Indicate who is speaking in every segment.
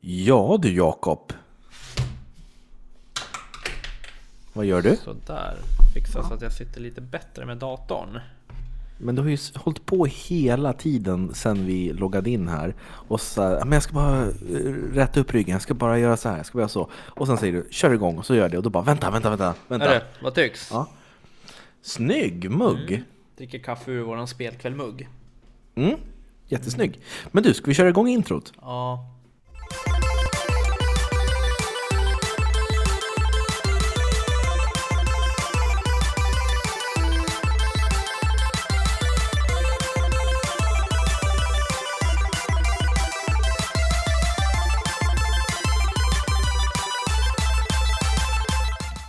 Speaker 1: Ja du Jakob. Vad gör du?
Speaker 2: Sådär. Fixa så att jag sitter lite bättre med datorn.
Speaker 1: Men du har ju s- hållit på hela tiden sen vi loggade in här. Och så här, men jag ska bara eh, rätta upp ryggen, jag ska bara göra så här, jag ska bara göra så. Och sen säger du, kör igång och så gör jag det. Och då bara, vänta, vänta, vänta. vänta.
Speaker 2: Hörru, vad tycks?
Speaker 1: Ja. Snygg mugg!
Speaker 2: Dricker kaffe ur våran spelkvällmugg.
Speaker 1: Mm. Jättesnygg. Men du, ska vi köra igång introt?
Speaker 2: Ja.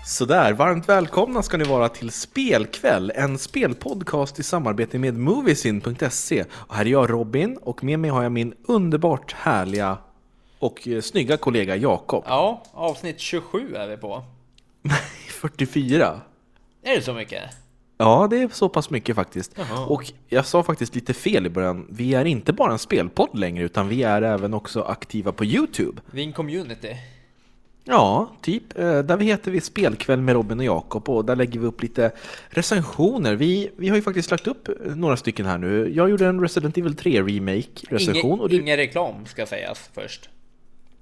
Speaker 1: Sådär, varmt välkomna ska ni vara till Spelkväll, en spelpodcast i samarbete med Moviesin.se. Och här är jag Robin och med mig har jag min underbart härliga och eh, snygga kollega Jakob.
Speaker 2: Ja, avsnitt 27 är vi på.
Speaker 1: 44.
Speaker 2: Är det så mycket?
Speaker 1: Ja, det är så pass mycket faktiskt.
Speaker 2: Jaha.
Speaker 1: Och jag sa faktiskt lite fel i början. Vi är inte bara en spelpodd längre, utan vi är även också aktiva på YouTube.
Speaker 2: Vi är en community.
Speaker 1: Ja, typ. Eh, Där vi heter vi Spelkväll med Robin och Jakob och där lägger vi upp lite recensioner. Vi, vi har ju faktiskt lagt upp eh, några stycken här nu. Jag gjorde en Resident Evil 3 Remake-recension.
Speaker 2: Inge,
Speaker 1: och du...
Speaker 2: Ingen reklam ska sägas först.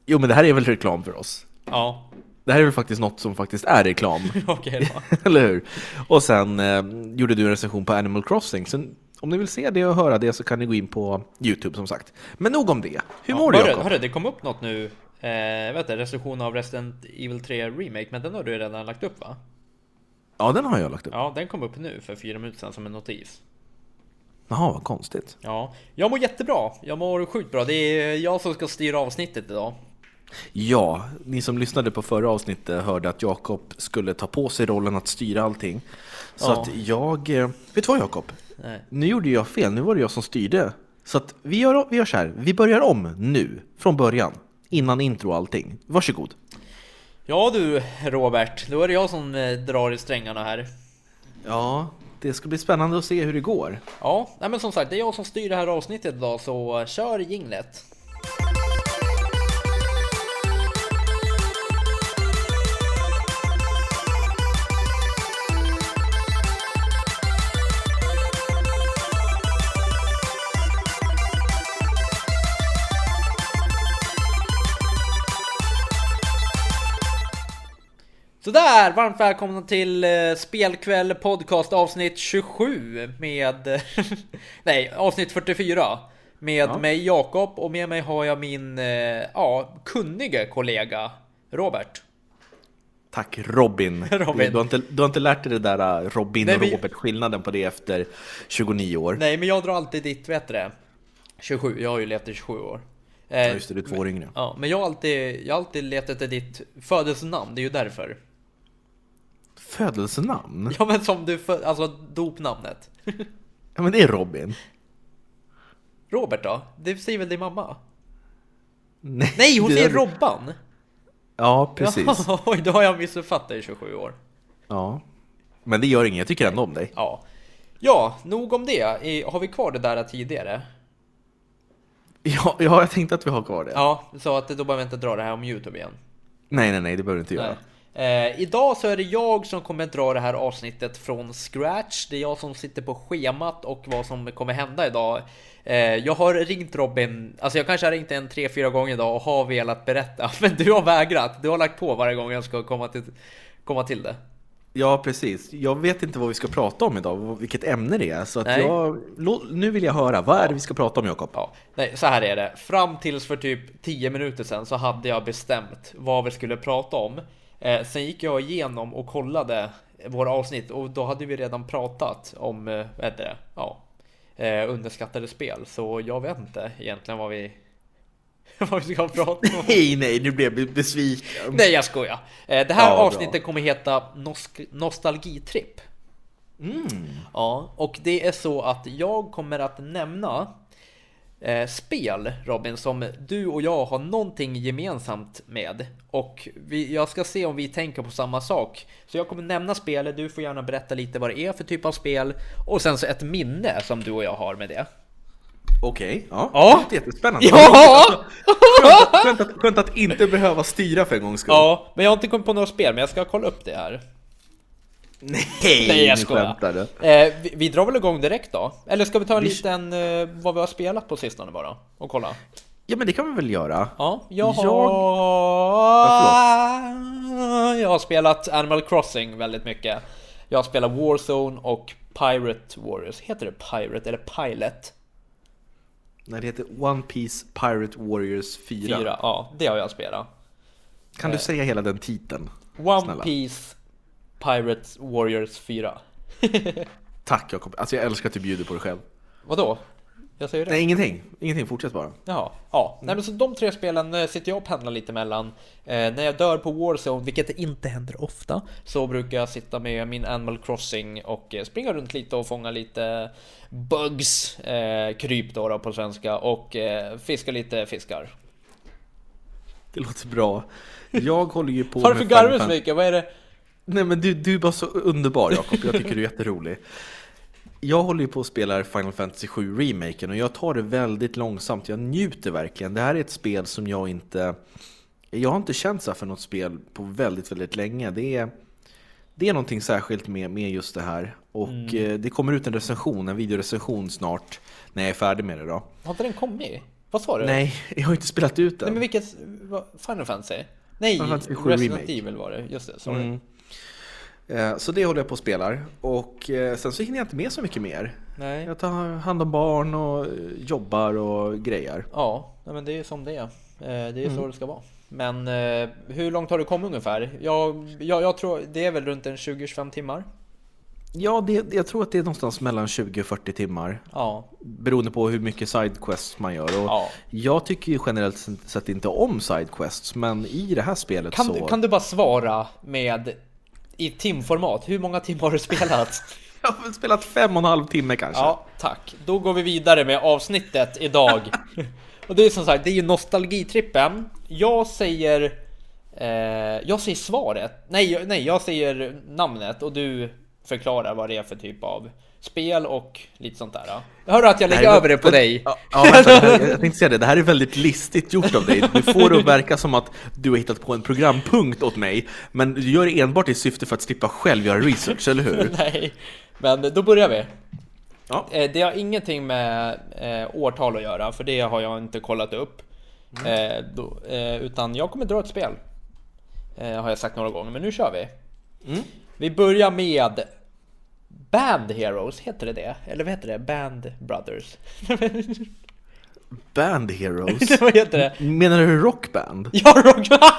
Speaker 1: Jo, men det här är väl reklam för oss?
Speaker 2: Ja,
Speaker 1: Det här är väl faktiskt något som faktiskt är reklam,
Speaker 2: okej då.
Speaker 1: eller hur? Och sen eh, gjorde du en recension på Animal Crossing. Så om ni vill se det och höra det så kan ni gå in på YouTube som sagt. Men nog om det. Hur mår du
Speaker 2: hörru,
Speaker 1: Jakob?
Speaker 2: hörru, det kom upp något nu. Eh, vet du, recension av Resident Evil 3 Remake, men den har du ju redan lagt upp va?
Speaker 1: Ja, den har jag lagt upp.
Speaker 2: Ja, den kom upp nu för fyra minuter sedan som en notis.
Speaker 1: Jaha, vad konstigt.
Speaker 2: Ja, jag mår jättebra. Jag mår sjukt bra. Det är jag som ska styra avsnittet idag.
Speaker 1: Ja, ni som lyssnade på förra avsnittet hörde att Jakob skulle ta på sig rollen att styra allting. Så
Speaker 2: Ja.
Speaker 1: att jag... eh, Vet du vad Jakob?
Speaker 2: Nej.
Speaker 1: Nu gjorde jag fel, nu var det jag som styrde. Så att vi gör, vi gör så här, vi börjar om nu, från början. Innan intro och allting. Varsågod.
Speaker 2: Ja du Robert, då är det jag som eh, drar i strängarna här.
Speaker 1: Ja, det ska bli spännande att se hur det går.
Speaker 2: Ja, nej men som sagt, det är jag som styr det här avsnittet idag så eh, kör jinglet. Sådär, varmt välkomna till eh, Spelkväll podcast avsnitt 27 med... nej, avsnitt 44. Med
Speaker 1: Ja.
Speaker 2: mig Jakob och med mig har jag min, eh, ja, kunnige kollega Robert.
Speaker 1: Tack Robin.
Speaker 2: Robin.
Speaker 1: Du, har inte, du har inte lärt dig det där äh, Robin
Speaker 2: Nej,
Speaker 1: och
Speaker 2: men-
Speaker 1: Robert-skillnaden på det efter 29 år.
Speaker 2: Nej, men jag drar alltid ditt, vet du det? 27, jag har ju levt i 27 år. Eh,
Speaker 1: Ja, Just det, du är två år yngre.
Speaker 2: Ja, men jag har alltid, jag har alltid letat efter ditt födelsenamn, det är ju därför.
Speaker 1: Födelsenamn?
Speaker 2: Ja men som du, för, alltså dopnamnet.
Speaker 1: Ja, men det är Robin.
Speaker 2: Robert då? Det säger väl din mamma?
Speaker 1: Nej,
Speaker 2: Nej, hon
Speaker 1: det
Speaker 2: säger
Speaker 1: är-
Speaker 2: Robban!
Speaker 1: Ja, precis.
Speaker 2: Jaha, Oj, då har jag missuppfattat i 27 år.
Speaker 1: Ja. Men det gör inget, jag tycker ändå om dig.
Speaker 2: Ja. Ja, nog om det. Eh, Har vi kvar det där tidigare?
Speaker 1: Ja, ja, jag tänkte att vi har kvar det.
Speaker 2: Ja, så att då behöver jag inte dra det här om Youtube igen.
Speaker 1: Nej, nej, nej, det behöver du inte göra.
Speaker 2: Nej. Eh, idag så är det jag som kommer att dra det här avsnittet från scratch. Det är jag som sitter på schemat och vad som kommer hända idag. Eh, jag har ringt Robin, alltså jag kanske har ringt en tre fyra gånger idag och har velat berätta, men du har vägrat. Du har lagt på varje gång jag ska komma till, komma till det.
Speaker 1: Ja, precis. Jag vet inte vad vi ska prata om idag, vad- vilket ämne det är. Så att
Speaker 2: Nej.
Speaker 1: jag... Lå- Nu vill jag höra, vad är det vi ska prata om, Jakob?
Speaker 2: Ja, nej, så här är det. Fram tills för typ 10 minuter sedan så hade jag bestämt vad vi skulle prata om. Eh, sen gick jag igenom och kollade våra avsnitt och då hade vi redan pratat om, eh, vad heter det? Ja, eh, underskattade spel. Så jag vet inte egentligen vad vi, vad vi ska prata om.
Speaker 1: Nej, nej, nu blev jag besviken.
Speaker 2: Nej, jag skojar. Eh, det här
Speaker 1: Ja, bra.
Speaker 2: avsnittet kommer heta Nosk- Nostalgitripp.
Speaker 1: Mm.
Speaker 2: Ja, och det är så att jag kommer att nämna eh, spel Robin som du och jag har någonting gemensamt med. Och vi, jag ska se om vi tänker på samma sak. Så jag kommer nämna spelet, du får
Speaker 1: Mm.
Speaker 2: gärna berätta lite vad det är för typ av spel och sen så ett minne som du och jag har med det.
Speaker 1: Okej, ja.
Speaker 2: Ja.
Speaker 1: Det låter jättespännande.
Speaker 2: Ja!
Speaker 1: Skönt, skönt, att, skönt att inte behöva styra för en gångs skull.
Speaker 2: Ja, men jag har inte kommit på några spel, men jag ska kolla upp det här.
Speaker 1: Nej,
Speaker 2: Nej, jag
Speaker 1: nu
Speaker 2: skojar.
Speaker 1: skämtade.
Speaker 2: Eh, vi, vi drar väl igång direkt då? Eller ska vi ta en
Speaker 1: Vi-
Speaker 2: liten eh, vad vi har spelat på sistone bara och kolla?
Speaker 1: Ja, men det kan vi väl göra?
Speaker 2: Ja, jag har...
Speaker 1: Jag-
Speaker 2: jag har spelat Animal Crossing väldigt mycket. Jag har spelat Warzone och Pirate Warriors. Heter det Pirate eller Pilot?
Speaker 1: Nej, det heter One Piece Pirate Warriors 4.
Speaker 2: Fyra, Eh. ja. det har jag spelat.
Speaker 1: Kan du säga hela den titeln?
Speaker 2: One
Speaker 1: Snälla.
Speaker 2: Piece Pirate Warriors 4.
Speaker 1: Tack Jakob. Alltså jag älskar att du bjuder på dig själv.
Speaker 2: Vadå? Jag säger det.
Speaker 1: Nej, ingenting. Ingenting, fortsätt bara.
Speaker 2: Jaha, ja.
Speaker 1: Mm.
Speaker 2: Nej, men så de tre spelen eh, sitter jag och pendlar lite mellan. Eh, när jag dör på Warzone, vilket inte händer ofta, så brukar jag sitta med min Animal Crossing och eh, springa runt lite och fånga lite bugs, eh, kryp då, då på svenska, och eh, fiska lite fiskar.
Speaker 1: Det låter bra. Jag håller ju på
Speaker 2: Varför
Speaker 1: Final
Speaker 2: garvar du så
Speaker 1: Fan-
Speaker 2: mycket? Vad är det?
Speaker 1: Nej men du, du är bara så underbar Jakob, jag tycker du är jätterolig. Jag håller ju på och spelar Final Fantasy 7 remaken och jag tar det väldigt långsamt. Jag njuter verkligen. Det här är ett spel som jag inte... Jag har inte känt så här för något spel på väldigt, väldigt länge. Det är, det är någonting särskilt med, med just det här. Och eh, det kommer ut en recension, en videorecension snart, när jag är färdig med det då.
Speaker 2: Har inte den kommit? Vad sa du?
Speaker 1: Nej, jag har inte spelat ut
Speaker 2: Nej, men
Speaker 1: den.
Speaker 2: vilket? vad- Final Fantasy? Nej,
Speaker 1: Final Fantasy sju
Speaker 2: Resident
Speaker 1: Remake. Mm.
Speaker 2: Evil var det. Just det, sorry.
Speaker 1: Eh, Så det håller jag på och spelar. Och eh, sen så hinner jag inte med så mycket mer.
Speaker 2: Nej.
Speaker 1: Jag tar hand om barn och eh, jobbar och grejer.
Speaker 2: Ja, nej, men det är ju som det är. Eh, Det är ju så det ska vara. Men eh, hur långt har du kommit ungefär? Jag, jag, jag tror det är väl runt en 20-25 timmar.
Speaker 1: Ja, det, det- jag tror att det är någonstans mellan 20 och 40 timmar.
Speaker 2: Ja,
Speaker 1: Beroende på hur mycket sidequests man gör. Och
Speaker 2: Ja.
Speaker 1: Jag tycker ju generellt sett inte om sidequests, men i det här spelet
Speaker 2: kan,
Speaker 1: så...
Speaker 2: du- kan du bara svara med i timformat? Hur många timmar har du spelat?
Speaker 1: Jag har väl spelat fem och en halv timme kanske.
Speaker 2: ja, tack. Då går vi vidare med avsnittet idag. Och det är som sagt, det är ju nostalgitrippen. Jag säger eh, jag säger svaret. Nej, jag- nej, jag säger namnet och du förklarar vad det är för typ av spel och lite sånt där. ja. Hör du att jag lägger
Speaker 1: Nej, men-
Speaker 2: över det på
Speaker 1: men-
Speaker 2: dig?
Speaker 1: Ja, ja, vänta, det här, jag tänkte säga det, det här är väldigt listigt gjort av dig. Du får det att verka som att du har hittat på en programpunkt åt mig, men du gör det enbart i syfte för att slippa själv göra research, eller hur?
Speaker 2: Nej, men då börjar vi.
Speaker 1: Ja.
Speaker 2: Eh, Det har ingenting med eh, årtal att göra, för det har jag inte kollat upp.
Speaker 1: Mm.
Speaker 2: Eh, då, eh, utan jag kommer dra ett spel. Eh, har jag sagt några gånger, men nu kör vi.
Speaker 1: Mm.
Speaker 2: Vi börjar med Band Heroes, heter det det? Eller vad heter det? Band Brothers?
Speaker 1: Band Heroes.
Speaker 2: vad heter det?
Speaker 1: Menar du rockband?
Speaker 2: Ja, Rock...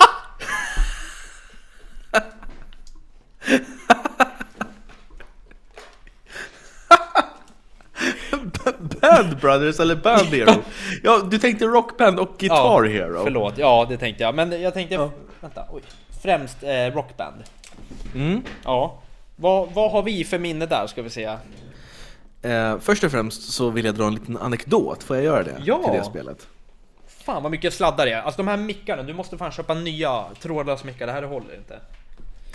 Speaker 1: Band Brothers eller Band Hero? Ja, du tänkte rockband och Guitar
Speaker 2: ja,
Speaker 1: Hero.
Speaker 2: Förlåt, ja det tänkte jag. Men jag tänkte... Vänta, oj. Främst eh, Rockband.
Speaker 1: Mm.
Speaker 2: Ja. Vad, vad har vi för minne där, ska vi se?
Speaker 1: Eh, först och främst så vill jag dra en liten anekdot, får jag göra det?
Speaker 2: Ja.
Speaker 1: Till det spelet.
Speaker 2: Fan vad mycket sladdar det är. Alltså de här mickarna, du måste fan köpa nya trådlösa mickar, det här håller inte.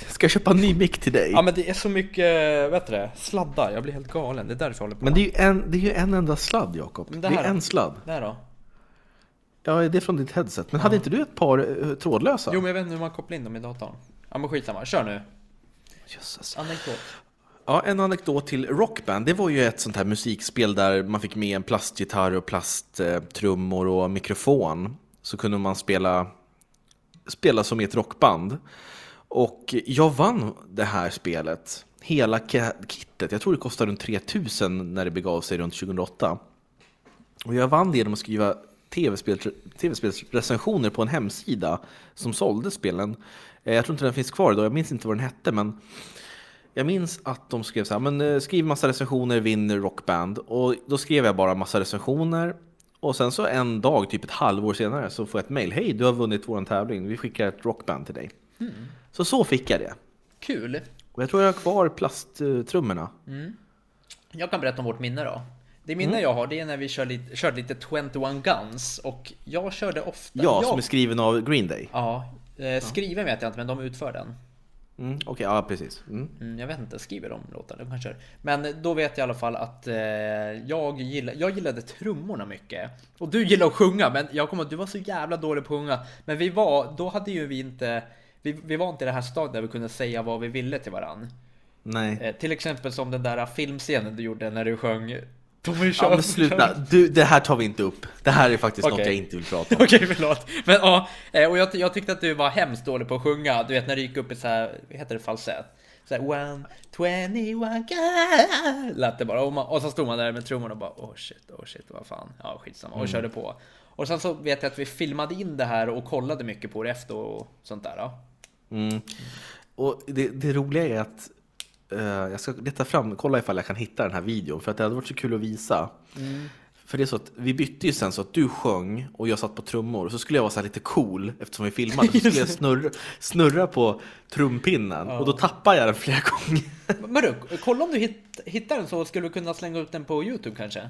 Speaker 1: Ska jag köpa en ny mick till dig?
Speaker 2: Ja men det är så mycket, vet du det, sladdar, jag blir helt galen. Det är därför jag håller på.
Speaker 1: Men det är ju en, det är ju en enda sladd Jakob.
Speaker 2: Men
Speaker 1: Det,
Speaker 2: det
Speaker 1: är
Speaker 2: här-
Speaker 1: en sladd.
Speaker 2: Där då?
Speaker 1: Ja, det är från ditt headset. Men hade inte du ett par eh, trådlösa?
Speaker 2: Jo men jag vet inte hur man kopplar in dem i datorn. Ja men skitsamma, kör nu.
Speaker 1: Jösses.
Speaker 2: Anekdot.
Speaker 1: Ja, en anekdot till Rockband. Det var ju ett sånt här musikspel där man fick med en plastgitarr och plasttrummor och mikrofon. Så kunde man spela, spela som i ett rockband. Och jag vann det här spelet, hela ki- kittet. Jag tror det kostade runt 3000 när det begav sig runt 2008. Och jag vann det genom att skriva tv-spel- tv-spelsrecensioner på en hemsida som sålde spelen. Eh, Jag tror inte den finns kvar idag, jag minns inte vad den hette, men jag minns att de skrev så här, men eh, skriv massa recensioner, vinn Rockband. Och då skrev jag bara massa recensioner. Och sen så en dag, typ ett halvår senare, så får jag ett mail. Hej, du har vunnit vår tävling. Vi skickar ett Rockband till dig.
Speaker 2: Mm.
Speaker 1: Så så fick jag det.
Speaker 2: Kul.
Speaker 1: Och jag tror jag har kvar plasttrummorna.
Speaker 2: Mm. Jag kan berätta om vårt minne då. Det minne
Speaker 1: Mm.
Speaker 2: jag har, det är när vi kör lite, körde lite 21 Guns och jag körde ofta...
Speaker 1: Ja,
Speaker 2: jag,
Speaker 1: som är skriven av Green Day.
Speaker 2: Ja, eh, skriven vet jag inte men de utför den.
Speaker 1: Mm, Okej, ja precis. Mm.
Speaker 2: Mm, jag vet inte, skriver de låtar? De kanske gör. Men då vet jag i alla fall att eh, jag, gillar, jag gillade trummorna mycket. Och du gillar att sjunga, men jag kommer att du var så jävla dålig på att sjunga. Men vi var, då hade ju vi inte, vi, vi var inte i det här stadiet där vi kunde säga vad vi ville till varann.
Speaker 1: Nej.
Speaker 2: Eh, till exempel som den där filmscenen du gjorde när du sjöng Tommy
Speaker 1: Ja, men sluta, du, det här tar vi inte upp. Det här är faktiskt något
Speaker 2: Okej.
Speaker 1: jag inte vill prata om.
Speaker 2: Okej, förlåt. Men ja, eh, och jag, ty- jag tyckte att du var hemskt dålig på att sjunga. Du vet när du gick upp i så här, vad heter det, falsett? Så här, one, twenty, one, girl", lät det bara. Och, man, och så stod man där med trummorna och bara, oh shit, oh shit, vad fan. Ja, skitsamma. Och körde på. Och sen så vet jag att vi filmade in det här och kollade mycket på det efter och sånt där. Ja.
Speaker 1: Mm. Och det, det roliga är att eh, jag ska leta fram, kolla ifall jag kan hitta den här videon, för att det hade varit så kul att visa. För det är så att vi bytte ju sen så att du sjöng och jag satt på trummor, så skulle jag vara så här lite cool eftersom vi filmade, så skulle jag snurra, snurra på trumpinnen och då tappade jag den flera gånger.
Speaker 2: Men du, kolla om du hit, hittar den så skulle vi kunna slänga ut den på Youtube kanske?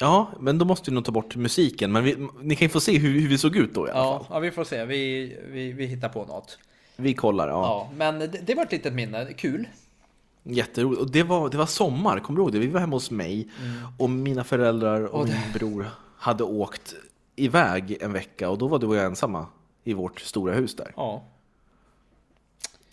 Speaker 1: Ja, men då måste vi nog ta bort musiken, men vi, ni kan ju få se hur, hur vi såg ut då i alla fall.
Speaker 2: Ja, ja vi får se. Vi, vi, vi hittar på något.
Speaker 1: Vi kollar, ja.
Speaker 2: Ja, men det, det var ett litet minne. Kul.
Speaker 1: Jätteroligt. Och det var, det var sommar, kommer du ihåg det? Vi var hemma hos mig och mina föräldrar och
Speaker 2: Och Mm. det-
Speaker 1: min bror hade åkt iväg en vecka och då var du och jag ensamma i vårt stora hus där.
Speaker 2: Ja.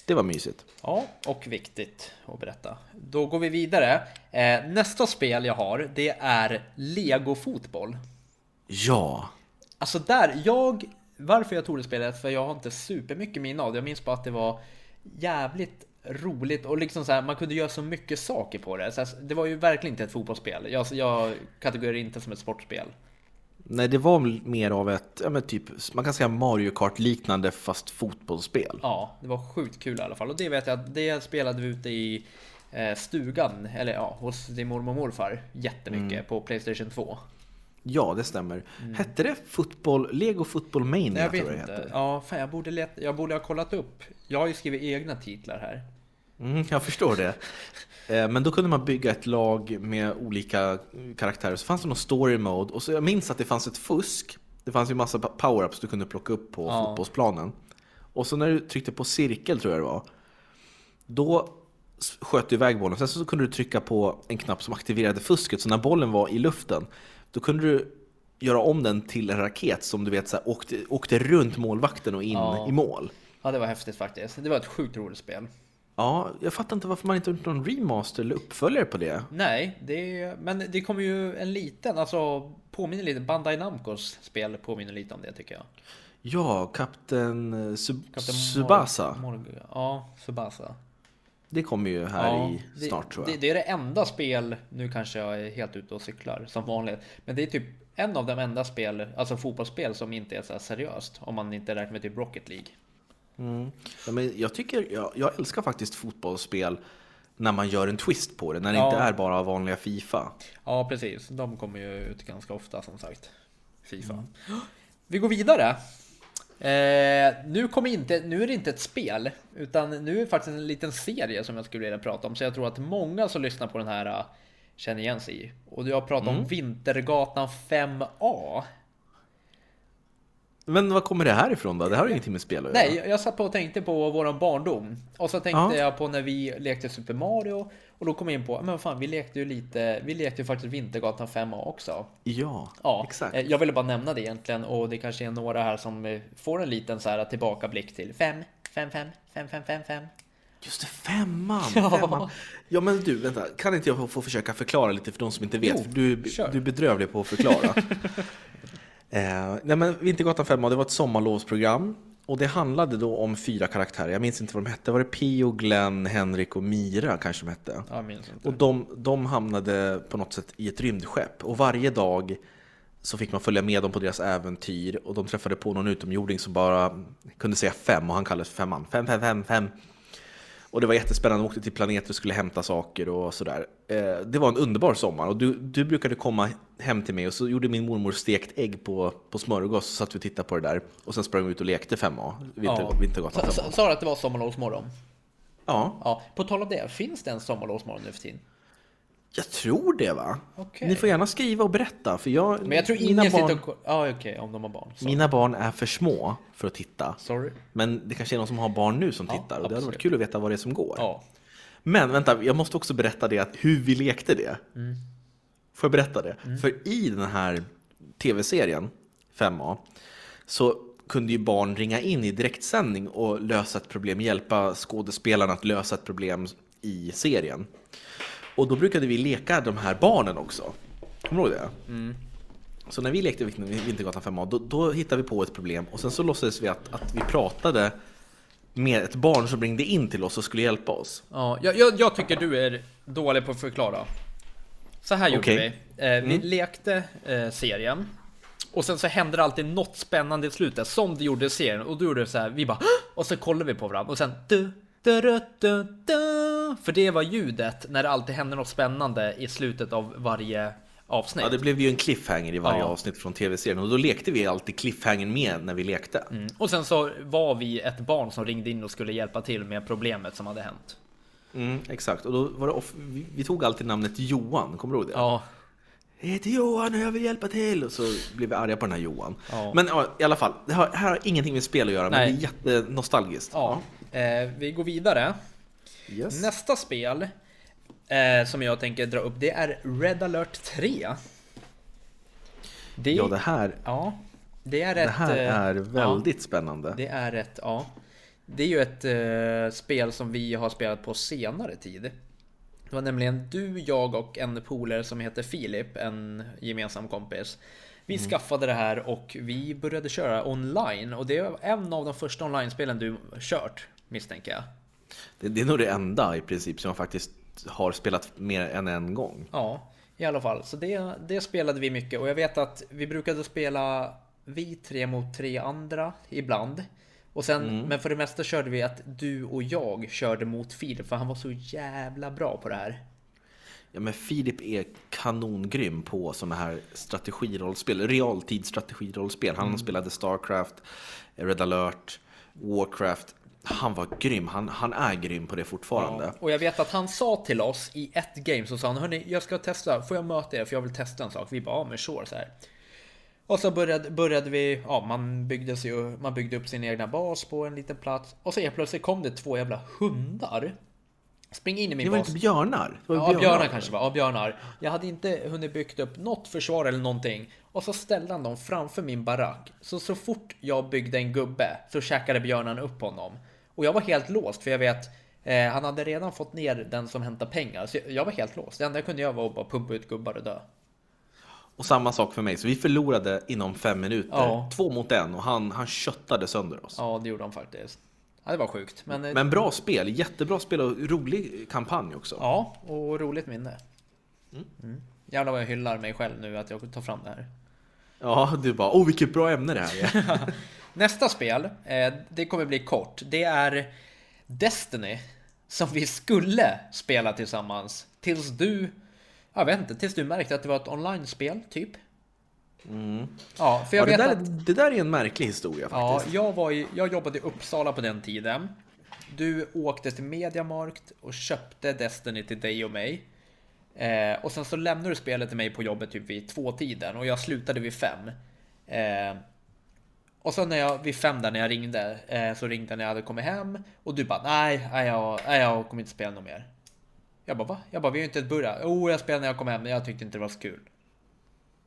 Speaker 1: Det var mysigt.
Speaker 2: Ja, och viktigt att berätta. Då går vi vidare. Eh, nästa spel jag har, det är Lego fotboll.
Speaker 1: Ja,
Speaker 2: Alltså där, jag... Varför jag tog det spelet, för jag har inte supermycket minne av det. Jag minns bara att det var jävligt roligt och liksom så här, man kunde göra så mycket saker på det. Så här, det var ju verkligen inte ett fotbollsspel. Jag, jag kategoriserar inte som ett sportspel.
Speaker 1: nej det var mer av ett, ja, men typ, man kan säga Mario Kart-liknande fast fotbollsspel.
Speaker 2: Ja, det var sjukt kul i alla fall. Och det vet jag att det spelade vi ute i eh, stugan, eller ja, hos din mormor och morfar jättemycket på Playstation 2.
Speaker 1: Ja, det stämmer. Hette det fotboll, Lego Football Mania?
Speaker 2: Nej, Mm. jag
Speaker 1: tror
Speaker 2: vet
Speaker 1: det
Speaker 2: inte.
Speaker 1: hette.
Speaker 2: Ja, fan, jag, borde leta, jag borde ha kollat upp. Jag har ju skrivit egna titlar här.
Speaker 1: Mm, jag förstår det. Eh, Men då kunde man bygga ett lag med olika karaktärer. Så fanns det någon story mode. Och så jag minns att det fanns ett fusk. Det fanns ju massa pa- power-ups du kunde plocka upp på
Speaker 2: Ja.
Speaker 1: fotbollsplanen. Och så när du tryckte på cirkel, tror jag det var, då s- sköt du iväg bollen. Sen så kunde du trycka på en knapp som aktiverade fusket. Så när bollen var i luften, då kunde du göra om den till en raket som du vet så här, åkte, åkte runt målvakten och in
Speaker 2: Ja.
Speaker 1: i mål.
Speaker 2: Ja, det var häftigt faktiskt. Det var ett sjukt roligt spel.
Speaker 1: Ja, jag fattar inte varför man inte har gjort någon remaster eller uppföljare på det.
Speaker 2: Nej, det, men det kommer ju en liten, alltså påminner lite, Bandai Namcos spel påminner lite om det tycker jag.
Speaker 1: Ja, kapten eh, Sub-
Speaker 2: Kapten Mor-
Speaker 1: Subasa.
Speaker 2: Mor- ja, Subasa.
Speaker 1: Det kommer ju här
Speaker 2: ja,
Speaker 1: i
Speaker 2: det-
Speaker 1: snart tror jag.
Speaker 2: Det, det är det enda spel, nu kanske jag är helt ute och cyklar som vanligt, men det är typ en av de enda spel, alltså fotbollsspel som inte är så här seriöst. Om man inte räknar med typ Rocket League.
Speaker 1: ja, men jag, tycker, jag, jag älskar faktiskt fotbollsspel när man gör en twist på det, när det
Speaker 2: Ja.
Speaker 1: inte är bara vanliga Fifa.
Speaker 2: Ja, precis. De kommer ju ut ganska ofta som sagt. Fifa. Vi går vidare. Eh, nu, kommer inte, nu är det inte ett spel, utan nu är det faktiskt en liten serie som jag skulle vilja prata om. Så jag tror att många som lyssnar på den här eh, känner igen sig i. Och jag pratar om Vintergatan 5A.
Speaker 1: Men var kommer det här ifrån då? Det här har ju ingenting med spel att göra.
Speaker 2: Nej, jag- jag satt på och tänkte på våran barndom. Och så tänkte
Speaker 1: Ja.
Speaker 2: jag på när vi lekte Super Mario. Och då kom jag in på, men vad fan, vi lekte ju lite, vi lekte ju faktiskt Vintergatan 5A också.
Speaker 1: Ja,
Speaker 2: Ja,
Speaker 1: exakt.
Speaker 2: eh, jag ville bara nämna det egentligen och det kanske är några här som eh, får en liten så här tillbakablick till 5, 5, 5, 5, 5, 5, 5.
Speaker 1: Just det, femman!
Speaker 2: Ja.
Speaker 1: femman. ja men du, vänta. Kan inte jag få försöka förklara lite för de som inte vet?
Speaker 2: Jo,
Speaker 1: För du,
Speaker 2: kör.
Speaker 1: du är bedrövlig på att förklara. eh, nej men Vintergatan 5 det var ett sommarlovsprogram. Och det handlade då om fyra karaktärer. Jag minns inte vad de hette. Var det Pio, Glenn, Henrik och Mira kanske de hette?
Speaker 2: Ja, jag minns inte.
Speaker 1: Och de, de hamnade på något sätt i ett rymdskepp. Och varje dag så fick man följa med dem på deras äventyr. Och de träffade på någon utomjording som bara kunde säga fem och han kallades för Femman. Fem, fem, fem, fem. Och det var jättespännande. De åkte till planeter och skulle hämta saker och sådär. Eh, det var en underbar sommar. Och du, du brukade komma hem till mig och så gjorde min mormor stekt ägg på, på smörgås. Så satt vi och tittade på det där. Och sen sprang vi ut och lekte 5A. Vinter,
Speaker 2: Ja.
Speaker 1: Vintergatan
Speaker 2: Sa-
Speaker 1: 5A.
Speaker 2: sa- Sa du att det var sommarlovsmorgon?
Speaker 1: Ja.
Speaker 2: Ja, på tal om det, finns det en sommarlovsmorgon nu för tiden?
Speaker 1: Jag tror det va?
Speaker 2: Okej.
Speaker 1: Ni får gärna skriva och berätta för jag,
Speaker 2: Men jag tror
Speaker 1: mina,
Speaker 2: ingen sitter
Speaker 1: barn,
Speaker 2: och ko- Ja, okej, om de har barn. Så.
Speaker 1: mina barn är för små för att titta.
Speaker 2: Sorry.
Speaker 1: Men det kanske är någon som har barn nu som tittar och det hade
Speaker 2: absolut.
Speaker 1: varit kul att veta vad det är som går.
Speaker 2: Ja.
Speaker 1: Men vänta, jag måste också berätta det att hur vi lekte det. Får jag berätta det? För i den här tv-serien, 5A, så kunde ju barn ringa in i direktsändning och lösa ett problem, hjälpa skådespelarna att lösa ett problem i serien. Och då brukade vi leka de här barnen också. Kommer du ihåg det? Så när vi lekte Vin- Vintergatan 5A, då, då hittade vi på ett problem och sen så låtsades vi att, att vi pratade med ett barn som ringde in till oss och skulle hjälpa oss.
Speaker 2: Ja, jag, jag, jag tycker du är dålig på att förklara. Så här gjorde
Speaker 1: Okej. Mm.
Speaker 2: vi. Eh, vi lekte eh, serien. Och sen så hände det alltid något spännande i slutet som det gjorde i serien. Och då gjorde det så här, vi bara "Hå!" Och så kollade vi på varandra och sen du, du, du, du, du. För det var ljudet när det alltid hände något spännande i slutet av varje avsnitt.
Speaker 1: Ja, det blev ju en cliffhanger i varje
Speaker 2: Ja.
Speaker 1: avsnitt från tv-serien och då lekte vi alltid cliffhangern med när vi lekte.
Speaker 2: Mm. Och sen så var vi ett barn som ringde in och skulle hjälpa till med problemet som hade hänt.
Speaker 1: Mm, exakt, och då var det off- vi, vi tog alltid namnet Johan, kommer du ihåg det?
Speaker 2: Ja,
Speaker 1: Jag heter Johan och jag vill hjälpa till! Och så blev vi arga på den här Johan.
Speaker 2: Ja.
Speaker 1: Men ja, i alla fall, det här, här har ingenting med spel att göra,
Speaker 2: Nej.
Speaker 1: men det är jättenonostalgiskt.
Speaker 2: ja. Eh, vi går vidare.
Speaker 1: Ja. Yes.
Speaker 2: Nästa spel eh, som jag tänker dra upp det är Red alert 3. Det,
Speaker 1: ja,
Speaker 2: ja,
Speaker 1: det
Speaker 2: det,
Speaker 1: här,
Speaker 2: är ett...
Speaker 1: det här
Speaker 2: eh,
Speaker 1: är väldigt
Speaker 2: Ja,
Speaker 1: spännande.
Speaker 2: det är ett, ja. Det är ju ett eh, spel som vi har spelat på senare tid. Det var nämligen du, jag och en polare som heter Filip, en gemensam kompis. Vi
Speaker 1: Mm.
Speaker 2: skaffade det här och vi började köra online och det är en av de första online-spelen du kört, misstänker jag.
Speaker 1: Det, det är nog det enda i princip som jag faktiskt har spelat mer än en gång.
Speaker 2: Ja, i alla fall. Så det, det spelade vi mycket och jag vet att vi brukade spela vi tre mot tre andra ibland. Och sen, Men för det mesta körde vi att du och jag körde mot Filip för han var så jävla bra på det här.
Speaker 1: Ja, men Filip är kanongrym på sådana här strategirollspel, realtidsstrategirollspel.
Speaker 2: Mm.
Speaker 1: Han spelade Starcraft, Red alert, Warcraft. Han var grym, han, han är grym på det fortfarande.
Speaker 2: Och jag vet att han sa till oss i ett game så sa han Hörni, jag ska testa, får jag möta er för jag vill testa en sak? Vi bara, ja men sure så här. Och så började, började vi, ja man byggde, sig, man byggde upp sin egna bas på en liten plats och så helt plötsligt kom det två jävla hundar. Spring in i min
Speaker 1: Det var
Speaker 2: bas.
Speaker 1: inte björnar? Det var
Speaker 2: Ja, björnar kanske var. Ja, björnar. Jag hade inte hunnit byggt upp något försvar eller någonting. Och så ställde han dem framför min barack. Så så fort jag byggde en gubbe så käkade björnarna upp honom. Och jag var helt låst för jag vet eh, han hade redan fått ner den som hämtar pengar. Så jag- jag var helt låst. Det enda jag kunde göra var att bara pumpa ut gubbar och dö.
Speaker 1: Och samma sak för mig, så vi förlorade inom fem minuter.
Speaker 2: Ja.
Speaker 1: Två mot en och han, han köttade sönder oss.
Speaker 2: Ja, det gjorde han faktiskt. Ja, det var sjukt. Men, eh,
Speaker 1: Men bra spel, jättebra spel och rolig kampanj också.
Speaker 2: ja, och roligt minne. Mm. Jävlar vad jag hyllar mig själv nu att jag tar fram det här.
Speaker 1: Ja, du bara åh vilket bra ämne det här är.
Speaker 2: Nästa spel, eh, det kommer bli kort. Det är Destiny som vi skulle spela tillsammans tills du, jag vet inte, tills du märkte att det var ett online-spel typ. Ja, för
Speaker 1: Mm. Ja,
Speaker 2: jag
Speaker 1: det,
Speaker 2: vet
Speaker 1: där,
Speaker 2: att
Speaker 1: det där är en märklig historia faktiskt.
Speaker 2: ja, jag, var i, jag jobbade i Uppsala på den tiden. Du åkte till Mediamarkt och köpte Destiny till dig och mig. Eh, och sen så lämnade du spelet till mig på jobbet typ vid två tiden och jag slutade vid fem. Eh, och sen när jag, vid fem där när jag ringde, eh, så ringde jag när jag hade kommit hem och du bara nej, nej jag, nej, jag kommer inte spela något mer. Jag bara va? Jag bara vi har ju inte börjat. Jo, jag spelade när jag kom hem men jag tyckte inte det var så kul.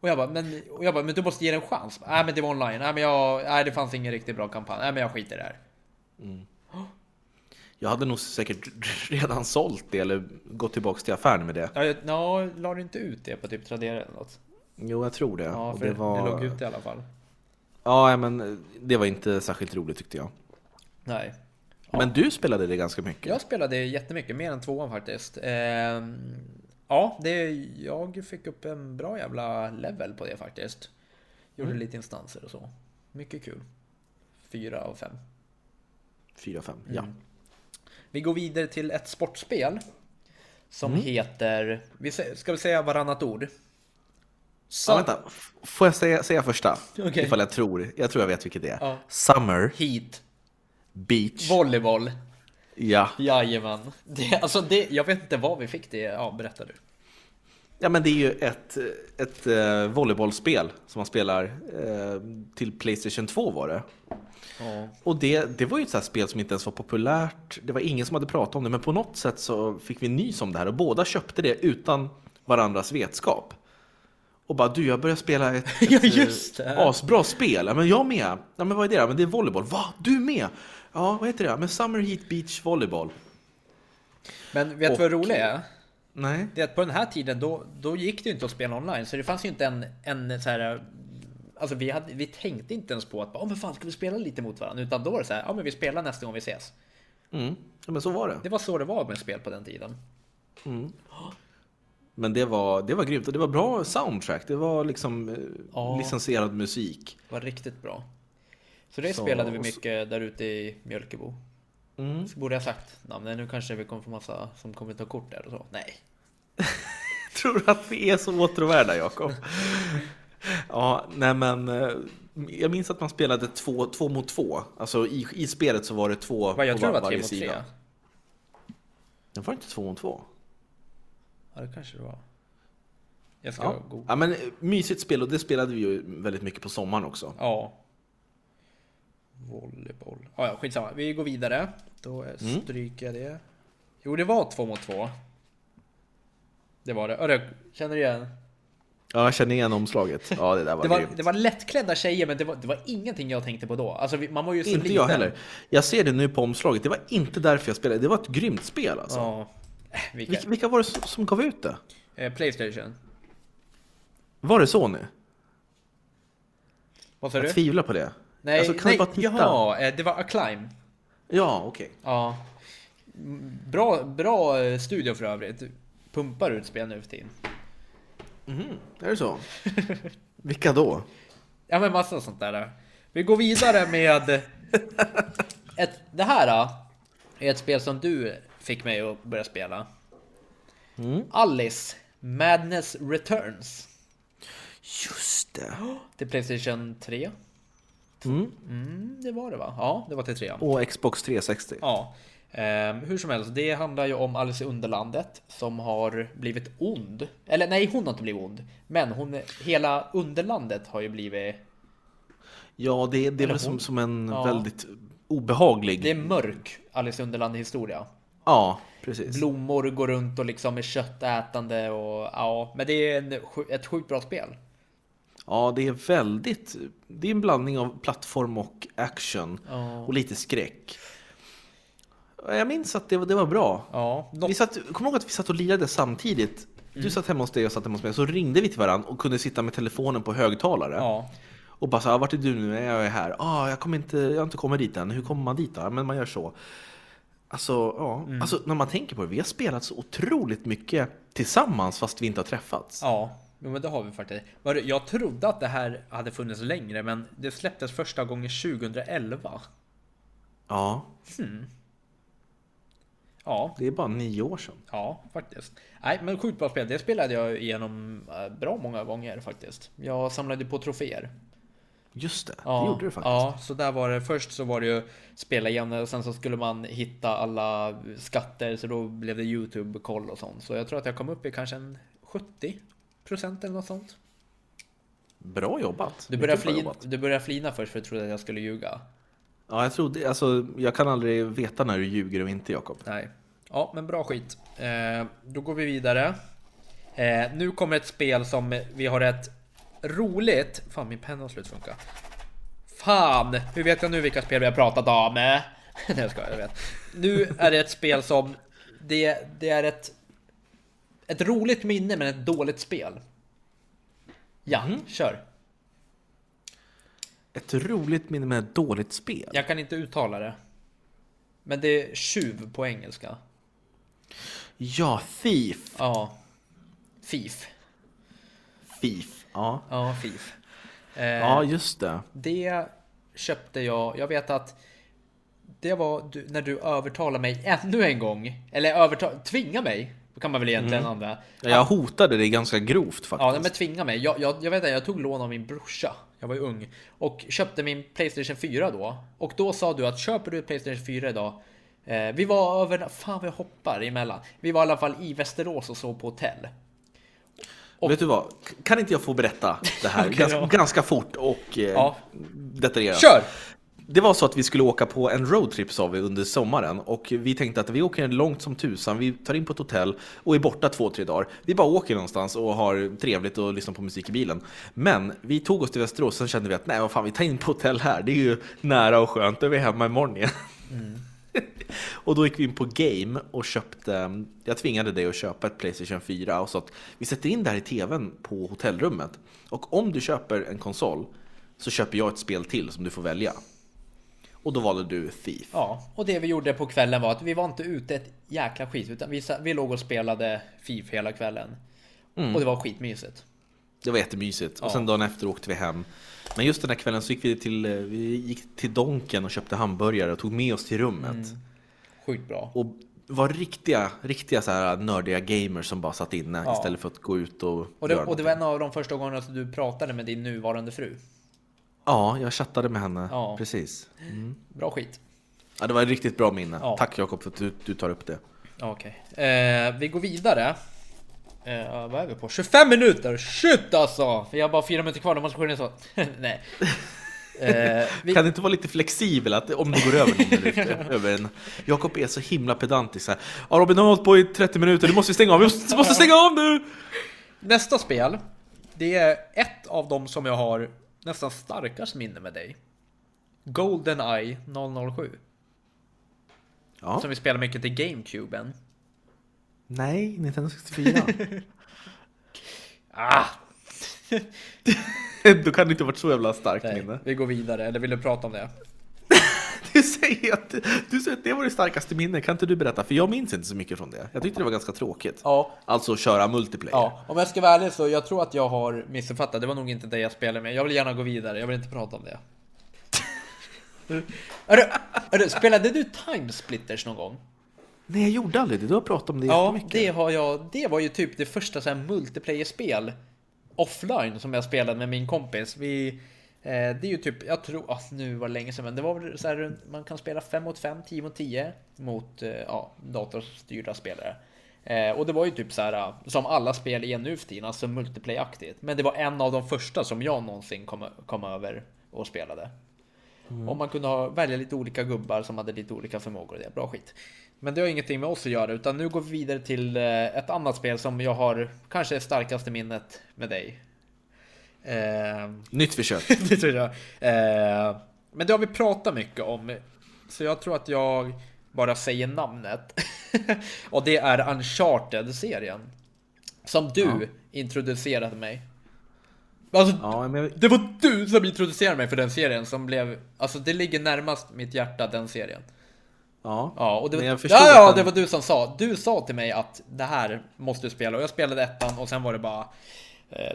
Speaker 2: Och jag bara men, och jag bara, men du måste ge det en chans. Nej men det var online, nej men jag, nej det fanns ingen riktigt bra kampanj, nej men jag skiter i det här.
Speaker 1: Jag hade nog säkert redan sålt det eller gått tillbaka till affären med det.
Speaker 2: Ja, jag, nå, la du inte ut det på typ Tradera eller något?
Speaker 1: Jo, jag tror det.
Speaker 2: Ja,
Speaker 1: Och
Speaker 2: för det,
Speaker 1: var...
Speaker 2: låg ut i alla fall.
Speaker 1: Ja, ja, men det var inte särskilt roligt tyckte jag.
Speaker 2: Nej.
Speaker 1: Men du spelade det ganska mycket.
Speaker 2: Jag spelade jättemycket, mer än tvåan faktiskt. Ehm, ja, det, jag fick upp en bra jävla level på det faktiskt. Gjorde
Speaker 1: Mm.
Speaker 2: lite instanser och så. Mycket kul. Fyra av fem.
Speaker 1: Fyra, fem. Ja.
Speaker 2: Mm. Vi går vidare till ett sportspel. Som heter, vi, sä- ska vi säga varannat ord?
Speaker 1: Mm. ja,
Speaker 2: Sun
Speaker 1: vänta. F- Får jag säga, säga första?
Speaker 2: Okej.
Speaker 1: Ifall jag tror. Jag tror jag vet vilket det är.
Speaker 2: Ja.
Speaker 1: Summer
Speaker 2: Heat,
Speaker 1: Beach.
Speaker 2: volleyboll.
Speaker 1: Ja.
Speaker 2: Jajamän. Det, alltså det, jag vet inte vad vi fick det, ja berätta du.
Speaker 1: Ja, men det är ju ett, ett eh, volleybollspel som man spelar eh, till Playstation 2 var det.
Speaker 2: Ja.
Speaker 1: Och det, det var ju ett så här spel som inte ens var populärt. Det var ingen som hade pratat om det, men på något sätt så fick vi nys om det här och båda köpte det utan varandras vetskap. Och bara du, jag börjar spela ett, ett
Speaker 2: Ja, just
Speaker 1: eh,
Speaker 2: det här.
Speaker 1: asbra spel. Ja, men jag med. Ja, men vad är det? då? Men det är volleyboll. Va? Du med? Ja, vad heter det? Ja, Men Summer Heat Beach Volleyball.
Speaker 2: Men vet du vad det roliga är?
Speaker 1: Nej.
Speaker 2: Det är att på den här tiden då, då gick det ju inte att spela online. Så det fanns ju inte en, en så här... Alltså vi, hade, vi tänkte inte ens på att oh, men fan, ska vi spela lite mot varandra? Utan då var det så här, ja men vi spelar nästa gång vi ses.
Speaker 1: Mm. Ja, men så var det.
Speaker 2: Det var så det var med spel på den tiden.
Speaker 1: Men det var, det var grymt och det var bra soundtrack. Det var liksom eh,
Speaker 2: Ja.
Speaker 1: licensierad musik.
Speaker 2: Det var riktigt bra. Så det
Speaker 1: Så-
Speaker 2: spelade vi
Speaker 1: och så-
Speaker 2: mycket där ute i Mjölkebo.
Speaker 1: Mm.
Speaker 2: Så borde jag sagt namnen. Nu kanske vi kommer få massa som kommer ta kort där och så. Nej.
Speaker 1: Tror du att vi är så åtråvärda, Jakob? ja, nej men. eh, Jag minns att man spelade två, två mot två. Alltså i, i spelet så var det två
Speaker 2: Vad jag
Speaker 1: på
Speaker 2: tror
Speaker 1: var,
Speaker 2: det var tre
Speaker 1: varje
Speaker 2: mot tre.
Speaker 1: sida. Det var inte två mot två.
Speaker 2: Ja det kanske det var. Jag ska
Speaker 1: Ja.
Speaker 2: googla.
Speaker 1: ja, men eh, mysigt spel och det spelade vi ju väldigt mycket på sommaren också.
Speaker 2: Ja. Volleyboll. Ja, ja, skitsamma. Vi går vidare. Då eh, stryker jag det. Jo, det var två mot två. Det var det. Örre, känner du igen?
Speaker 1: Ja, jag känner igen omslaget. Ja, det där var,
Speaker 2: Det var,
Speaker 1: grymt.
Speaker 2: det var lättklädda tjejer, men det var, det var ingenting jag tänkte på då. Alltså, vi- man var ju så
Speaker 1: Inte
Speaker 2: liten.
Speaker 1: jag heller. Jag ser det nu på omslaget. Det var inte därför jag spelade. Det var ett grymt spel alltså.
Speaker 2: Ja. Äh, Vilka?
Speaker 1: Vilka, vilka var det som som gav ut det?
Speaker 2: Eh, Playstation.
Speaker 1: Var det så nu?
Speaker 2: Vad sa
Speaker 1: Jag
Speaker 2: du?
Speaker 1: tvivlar på det.
Speaker 2: Nej,
Speaker 1: Alltså, kan du
Speaker 2: nej,
Speaker 1: bara titta?
Speaker 2: jaha, eh, det var Acclaim.
Speaker 1: Ja, okej.
Speaker 2: Ja. Mm, Bra, bra eh, studio för övrigt. Pumpar ut spel nu för tiden. Mm.
Speaker 1: Mhm, Är det så? Vilka då?
Speaker 2: Ja men massa sånt där. Vi går vidare med ett, det här då, är ett spel som du fick mig att börja spela.
Speaker 1: Mm.
Speaker 2: Alice Madness Returns
Speaker 1: Just det.
Speaker 2: till Playstation 3.
Speaker 1: Mm.
Speaker 2: Mm, det var det va? Ja, det var till 3.
Speaker 1: Och Xbox 360.
Speaker 2: Ja. Ehm, hur som helst, det handlar ju om Alice i Underlandet som har blivit ond. Eller nej, hon har inte blivit ond. Men hon, hela Underlandet har ju blivit...
Speaker 1: Ja, det, det är
Speaker 2: Eller
Speaker 1: väl som,
Speaker 2: hon.
Speaker 1: som en
Speaker 2: Ja.
Speaker 1: väldigt obehaglig...
Speaker 2: Det är mörk Alice i Underlandet historia.
Speaker 1: Ja,
Speaker 2: Mm.
Speaker 1: precis.
Speaker 2: blommor går runt och liksom är köttätande och ja, men det är en, sj- ett sjukt bra spel.
Speaker 1: Ja, det är väldigt... Det är en blandning av plattform och action.
Speaker 2: Ja.
Speaker 1: Och lite skräck. Jag minns att det, var- det var bra.
Speaker 2: Ja, något,
Speaker 1: Vi satt, kommer ihåg att vi satt och lirade samtidigt?
Speaker 2: Mm.
Speaker 1: Du satt hemma hos dig och jag satt hemma hos mig. Så ringde vi till varandra och kunde sitta med telefonen på högtalare.
Speaker 2: ja,
Speaker 1: Och bara så här, "Ah, vart är du nu? Nej, Jag är här. Ah, jag, kommer inte, jag har inte kommit dit än. Hur kommer man dit då? Ja, Men man gör så. Alltså, ja.
Speaker 2: Mm.
Speaker 1: alltså, när man tänker på det, vi har spelat så otroligt mycket tillsammans fast vi inte har träffats.
Speaker 2: ja, jo, men det har vi faktiskt. Var det- Jag trodde att det här hade funnits längre, men det släpptes första gången 2011.
Speaker 1: Ja,
Speaker 2: Ja,
Speaker 1: det är bara nio år sedan.
Speaker 2: ja, faktiskt. Nej, men sjukt bra spel. Det spelade jag igenom eh, bra många gånger faktiskt. Jag samlade på troféer.
Speaker 1: Just det, det gjorde du faktiskt.
Speaker 2: Ja, så där var det. Först så var det ju spela igen och sen så skulle man hitta alla skatter så då blev det YouTube-koll och sånt. Så jag tror att jag kom upp i kanske en 70 procent eller något sånt.
Speaker 1: Bra jobbat.
Speaker 2: Du började,
Speaker 1: Mycket bra
Speaker 2: flin,
Speaker 1: jobbat.
Speaker 2: du började flina först för jag trodde att jag skulle ljuga.
Speaker 1: Ja, jag, tror det, alltså, jag kan aldrig veta när du ljuger och inte, Jakob.
Speaker 2: Nej. Ja, men bra skit. Eh, då går vi vidare. Eh, nu kommer ett spel som vi har ett roligt... Fan, min penna har slut funka. Fan! Hur vet jag nu vilka spel vi har pratat om? Eh? Nej, jag skojar, jag vet. Nu är det ett spel som... Det, det är ett... Ett roligt minne, men ett dåligt spel. Ja, kör.
Speaker 1: Ett roligt minne med ett dåligt spel.
Speaker 2: Jag kan inte uttala det. Men det är tjuv på engelska.
Speaker 1: Ja, thief.
Speaker 2: Ja. Fif.
Speaker 1: Thief. Ja,
Speaker 2: Ja, FIF. Eh,
Speaker 1: ja just det.
Speaker 2: Det köpte jag. Jag vet att det var du, när du övertalade mig ännu en gång. Eller övertal, tvinga mig. kan man väl egentligen använda.
Speaker 1: Ja, Jag hotade dig ganska grovt faktiskt.
Speaker 2: Ja, nej, men tvinga mig. Jag, jag, jag vet att jag tog lån av min brorsa. Jag var ju ung. Och köpte min Playstation 4 då. Och då sa du att köper du Playstation 4 idag. Eh, vi var över... Fan vad jag hoppar emellan. Vi var i alla fall i Västerås och sov på hotell. Och-
Speaker 1: Vet du vad? K- Kan inte jag få berätta det här
Speaker 2: Okej,
Speaker 1: ganska,
Speaker 2: ja.
Speaker 1: ganska fort och eh,
Speaker 2: Ja.
Speaker 1: detaljerat?
Speaker 2: Kör!
Speaker 1: Det var så att vi skulle åka på en roadtrip sa vi under sommaren och vi tänkte att vi åker långt som tusan, vi tar in på ett hotell och är borta två, tre dagar. Vi bara åker någonstans och har trevligt och lyssnar på musik i bilen. Men vi tog oss till Västerås och sen kände vi att nej vad fan vi tar in på hotell här, det är ju nära och skönt, då är vi hemma imorgon igen. Och då gick vi in på Game och köpte, jag tvingade dig att köpa ett Playstation 4 och sa att vi sätter in det här i TVn på hotellrummet. Och om du köper en konsol så köper jag ett spel till som du får välja. Och då valde du Thief.
Speaker 2: Ja, och det vi gjorde på kvällen var att vi var inte ute ett jäkla skit utan vi, sa- vi låg och spelade FIFA hela kvällen. Och det var skitmysigt.
Speaker 1: Det var jättemysigt. Och
Speaker 2: Ja.
Speaker 1: sen dagen efter åkte vi hem. Men just den här kvällen så gick vi till, eh, vi gick till Donken och köpte hamburgare och tog med oss till rummet.
Speaker 2: Mm. Sjukt bra.
Speaker 1: Och var riktiga, riktiga så här nördiga gamers som bara satt inne
Speaker 2: Ja.
Speaker 1: istället för att gå ut och,
Speaker 2: Och det,
Speaker 1: göra
Speaker 2: och det
Speaker 1: någonting.
Speaker 2: var en av de första gångerna som du pratade med din nuvarande fru.
Speaker 1: Ja, jag chattade med henne.
Speaker 2: Ja.
Speaker 1: Precis.
Speaker 2: Bra skit.
Speaker 1: Ja, det var ett riktigt bra minne.
Speaker 2: Ja.
Speaker 1: Tack Jakob för att du, du tar upp det.
Speaker 2: Ja, Okej. Eh, vi går vidare. Eh, vad är vi på? 25 minuter! Shit alltså! För jag har bara fyra minuter kvar, då måste jag skynda så. Nej. Eh, vi,
Speaker 1: Kan du inte vara lite flexibel att, om det går över någon minut? över en. Jakob är så himla pedantisk. Så här. Ja, Robin, nu har vi hållit på i 30 minuter. Nu måste vi stänga av. Vi måste, måste stänga av nu!
Speaker 2: nästa spel. Det är ett av dem som jag har nästan starkast minne med dig. Goldeneye 007.
Speaker 1: Ja.
Speaker 2: Som vi spelar mycket till GameCuben.
Speaker 1: Nej, Nintendo 64.
Speaker 2: Ah!
Speaker 1: Då kan det inte ha varit så jävla starkt
Speaker 2: Nej,
Speaker 1: minne.
Speaker 2: vi går vidare, eller vill du prata om det?
Speaker 1: Du säger, att, du säger att det var det starkaste minnet. Kan inte du berätta? För jag minns inte så mycket från det. Jag tyckte det var ganska tråkigt.
Speaker 2: Ja,
Speaker 1: Alltså köra multiplayer.
Speaker 2: Ja, om jag ska vara ärlig så jag tror att jag har missuppfattat. Det var nog inte det jag spelade med. Jag vill gärna gå vidare. Jag vill inte prata om det. Hörru, hörru, spelade du Timesplitters någon gång?
Speaker 1: Nej, jag gjorde aldrig det. Du har pratat om det
Speaker 2: Ja,
Speaker 1: jättemycket.
Speaker 2: det har jag. Det var ju typ det första så här multiplayer-spel offline som jag spelade med min kompis. Vi, eh, det är ju typ, jag tror, ah, nu var det länge sedan, men det var väl så här, runt- man kan spela 5 mot 5, 10 mot 10 mot eh, ja, datorstyrda spelare. Eh, och det var ju typ så här, ah, som alla spel är nu för tiden, alltså multiplayer-aktigt. Men det var en av de första som jag någonsin kom, kom över och spelade.
Speaker 1: Mm.
Speaker 2: Om man kunde ha, välja lite olika gubbar som hade lite olika förmågor. Det är bra skit. Men det har ingenting med oss att göra, utan nu går vi vidare till eh, ett annat spel som jag har kanske det starkaste minnet med dig. Eh,
Speaker 1: Nytt försök.
Speaker 2: det tror jag. Eh, men det har vi pratat mycket om, så jag tror att jag bara säger namnet. Och det är Uncharted-serien. Som du
Speaker 1: Ja.
Speaker 2: introducerade mig. Alltså,
Speaker 1: Ja, men jag,
Speaker 2: det var du som introducerade mig för den serien som blev, alltså det ligger närmast mitt hjärta den serien.
Speaker 1: ja.
Speaker 2: Ja, och det var,
Speaker 1: Men jag förstod
Speaker 2: ja, ja
Speaker 1: att den-
Speaker 2: det var du som sa, du sa till mig att det här måste du spela och jag spelade ettan och sen var det bara, eh,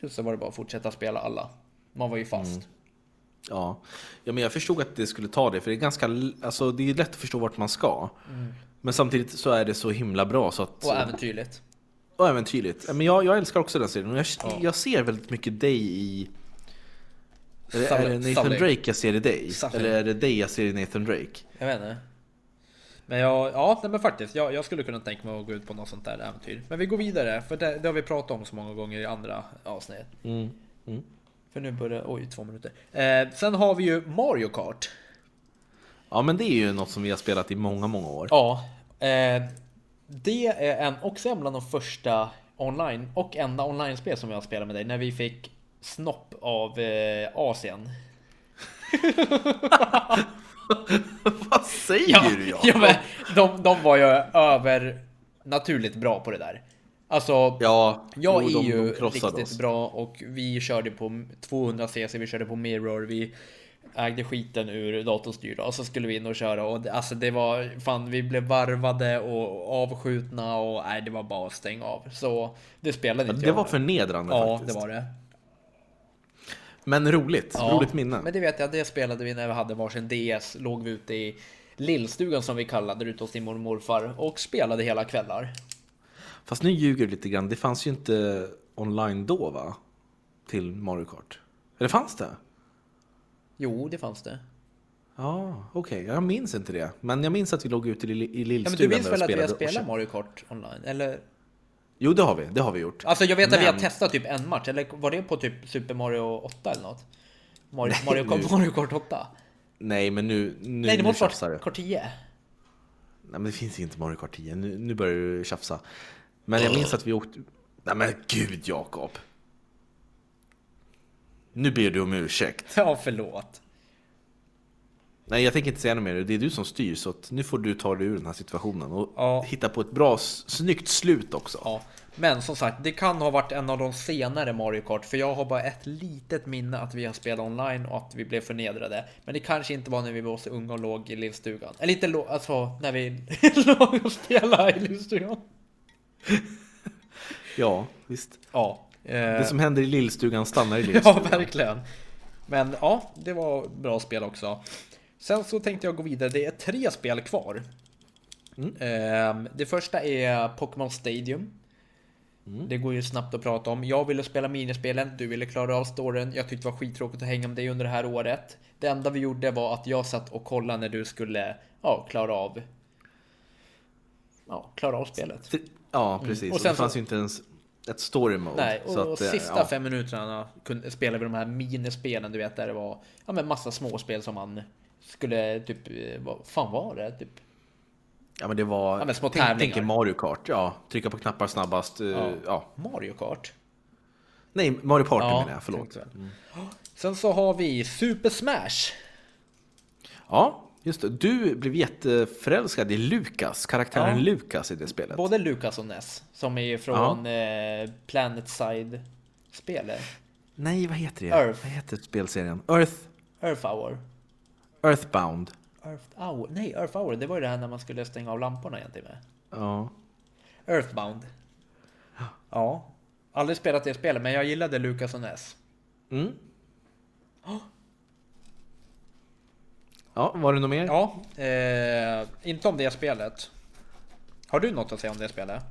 Speaker 2: fi, så var det bara att fortsätta spela alla. Man var ju fast.
Speaker 1: Mm, Ja. ja, men jag förstod att det skulle ta det, för det är ganska l- alltså, det är lätt att förstå vart man ska. Men samtidigt så är det så himla bra så att...
Speaker 2: Mm. Och äventyrligt.
Speaker 1: och äventyrligt. Ja, Men jag, jag älskar också den serien och jag, jag ser väldigt mycket dig i... Är det, är det
Speaker 2: Sully.
Speaker 1: Nathan
Speaker 2: Sully.
Speaker 1: Drake jag ser i dig?
Speaker 2: Sully.
Speaker 1: Eller är det dig jag ser i Nathan Drake?
Speaker 2: Jag vet inte. Men jag, ja, nej, men faktiskt, jag, jag skulle kunna tänka mig att gå ut på något sånt där äventyr. Men vi går vidare, för det, det har vi pratat om så många gånger i andra avsnitt.
Speaker 1: Mm. Mm.
Speaker 2: För nu börjar, oj, två minuter. Eh, sen har vi ju Mario Kart.
Speaker 1: Ja, men det är ju något som vi har spelat i många, många år.
Speaker 2: Ja, eh, det är en, också en bland de första online och enda online-spel som jag spelade med dig när vi fick snopp av eh, Asien.
Speaker 1: Vad säger du? Jakob?
Speaker 2: ja men, de, de var ju övernaturligt bra på det där. Alltså,
Speaker 1: ja
Speaker 2: jag
Speaker 1: jo,
Speaker 2: är
Speaker 1: de- de
Speaker 2: ju
Speaker 1: krossade
Speaker 2: riktigt
Speaker 1: oss.
Speaker 2: bra och vi körde på 200cc, vi körde på mirror, vi ägde skiten ur datorstyrda och så skulle vi in och köra och det, alltså det var fan vi blev varvade och avskjutna och nej det var bara att stänga av så det spelade inte
Speaker 1: Det
Speaker 2: jag
Speaker 1: var
Speaker 2: med.
Speaker 1: förnedrande
Speaker 2: Ja
Speaker 1: faktiskt.
Speaker 2: det var det.
Speaker 1: Men roligt.
Speaker 2: Ja,
Speaker 1: Roligt minne.
Speaker 2: Men det vet jag, det spelade vi när vi hade varsin DS, låg vi ute i lillstugan som vi kallade det ute hos din mormor och morfar och spelade hela kvällar.
Speaker 1: Fast nu ljuger du lite grann. Det fanns ju inte online då va? Till Mario Kart. Eller fanns det?
Speaker 2: Jo, det fanns det.
Speaker 1: Ja, okej. Jag minns inte det. Men jag minns att vi låg ute i, li- i
Speaker 2: Ja, men
Speaker 1: lillstugan
Speaker 2: du minns
Speaker 1: där
Speaker 2: väl
Speaker 1: och
Speaker 2: att vi har
Speaker 1: spelade och
Speaker 2: spelat
Speaker 1: kö-
Speaker 2: Mario Kart online? Eller?
Speaker 1: Jo, det har vi. Det har vi gjort.
Speaker 2: Alltså jag vet att vi har
Speaker 1: Men-
Speaker 2: testat typ en match, eller var det på typ Super Mario 8 eller något? Mario, Mario, Kart, Mario Kart 8?
Speaker 1: Nej, men nu, nu,
Speaker 2: Nej, det
Speaker 1: nu
Speaker 2: måste
Speaker 1: tjafsar
Speaker 2: vara
Speaker 1: du.
Speaker 2: Kart 10.
Speaker 1: Nej, men det finns inte Mario Kart 10. Nu, nu börjar du tjafsa. Men jag minns att vi åkte... Nej, men gud Jakob! Nu ber du om ursäkt.
Speaker 2: Ja, förlåt.
Speaker 1: Nej, jag tänker inte säga något mer. Det är du som styr, så att nu får du ta dig ur den här situationen och
Speaker 2: Ja.
Speaker 1: hitta på ett bra, s- snyggt slut också.
Speaker 2: Ja, men som sagt, det kan ha varit en av de senare Mario Kart, för jag har bara ett litet minne att vi har spelat online och att vi blev förnedrade. Men det kanske inte var när vi var så unga och låg i livstugan. Eller inte låg, alltså när vi låg och spelade i livstugan.
Speaker 1: Ja, visst.
Speaker 2: Ja, eh,
Speaker 1: Det som händer i lillstugan stannar i
Speaker 2: ja
Speaker 1: lillstugan.
Speaker 2: verkligen. Men ja, det var bra spel också. Sen så tänkte jag gå vidare, det är tre spel kvar.
Speaker 1: Mm.
Speaker 2: Ehm, Det första är Pokémon Stadium. Det går ju snabbt att prata om. Jag ville spela minispelen, du ville klara av storyn. Jag tyckte det var skittråkigt att hänga med dig under det här året. Det enda vi gjorde var att jag satt och kollade när du skulle ja, klara av ja, klara av spelet.
Speaker 1: För- ja, precis.
Speaker 2: Mm. Och
Speaker 1: Och
Speaker 2: sen
Speaker 1: det fanns
Speaker 2: så-
Speaker 1: ju inte ens ett story mode.
Speaker 2: Nej, och,
Speaker 1: så
Speaker 2: och
Speaker 1: att, eh,
Speaker 2: sista
Speaker 1: ja.
Speaker 2: fem minuterna kunde, spelade vi de här minispelen, du vet, där det var ja, men massa småspel som man skulle typ, eh, vad fan var det? Typ,
Speaker 1: Ja, men det var...
Speaker 2: Ja, men små
Speaker 1: tänk,
Speaker 2: tävlingar.
Speaker 1: Tänk er Mario Kart. Ja, trycka på knappar snabbast. eh,
Speaker 2: Ja.
Speaker 1: Ja.
Speaker 2: Mario Kart?
Speaker 1: Nej, Mario Party menar jag. Förlåt. Mm.
Speaker 2: tänkte jag. Sen så har vi Super Smash.
Speaker 1: Ja, just det. Du blev jätteförälskad i Lukas, karaktären
Speaker 2: Ja.
Speaker 1: Lukas i det spelet.
Speaker 2: Både Lucas och Ness, som är från eh, Planet Side-spelet.
Speaker 1: Nej, vad heter det?
Speaker 2: Earth.
Speaker 1: Vad heter spelserien? Earth...
Speaker 2: Earth Hour.
Speaker 1: Earthbound.
Speaker 2: Earth Hour? Nej, Earth Hour, det var ju det här när man skulle stänga av lamporna egentligen med.
Speaker 1: Ja.
Speaker 2: Earthbound. Ja. Aldrig spelat det spelet, men jag gillade Lucas och Ness.
Speaker 1: Mm. Ja, var det något mer?
Speaker 2: Ja, eh, inte om det spelet. Har du något att säga om det spelet?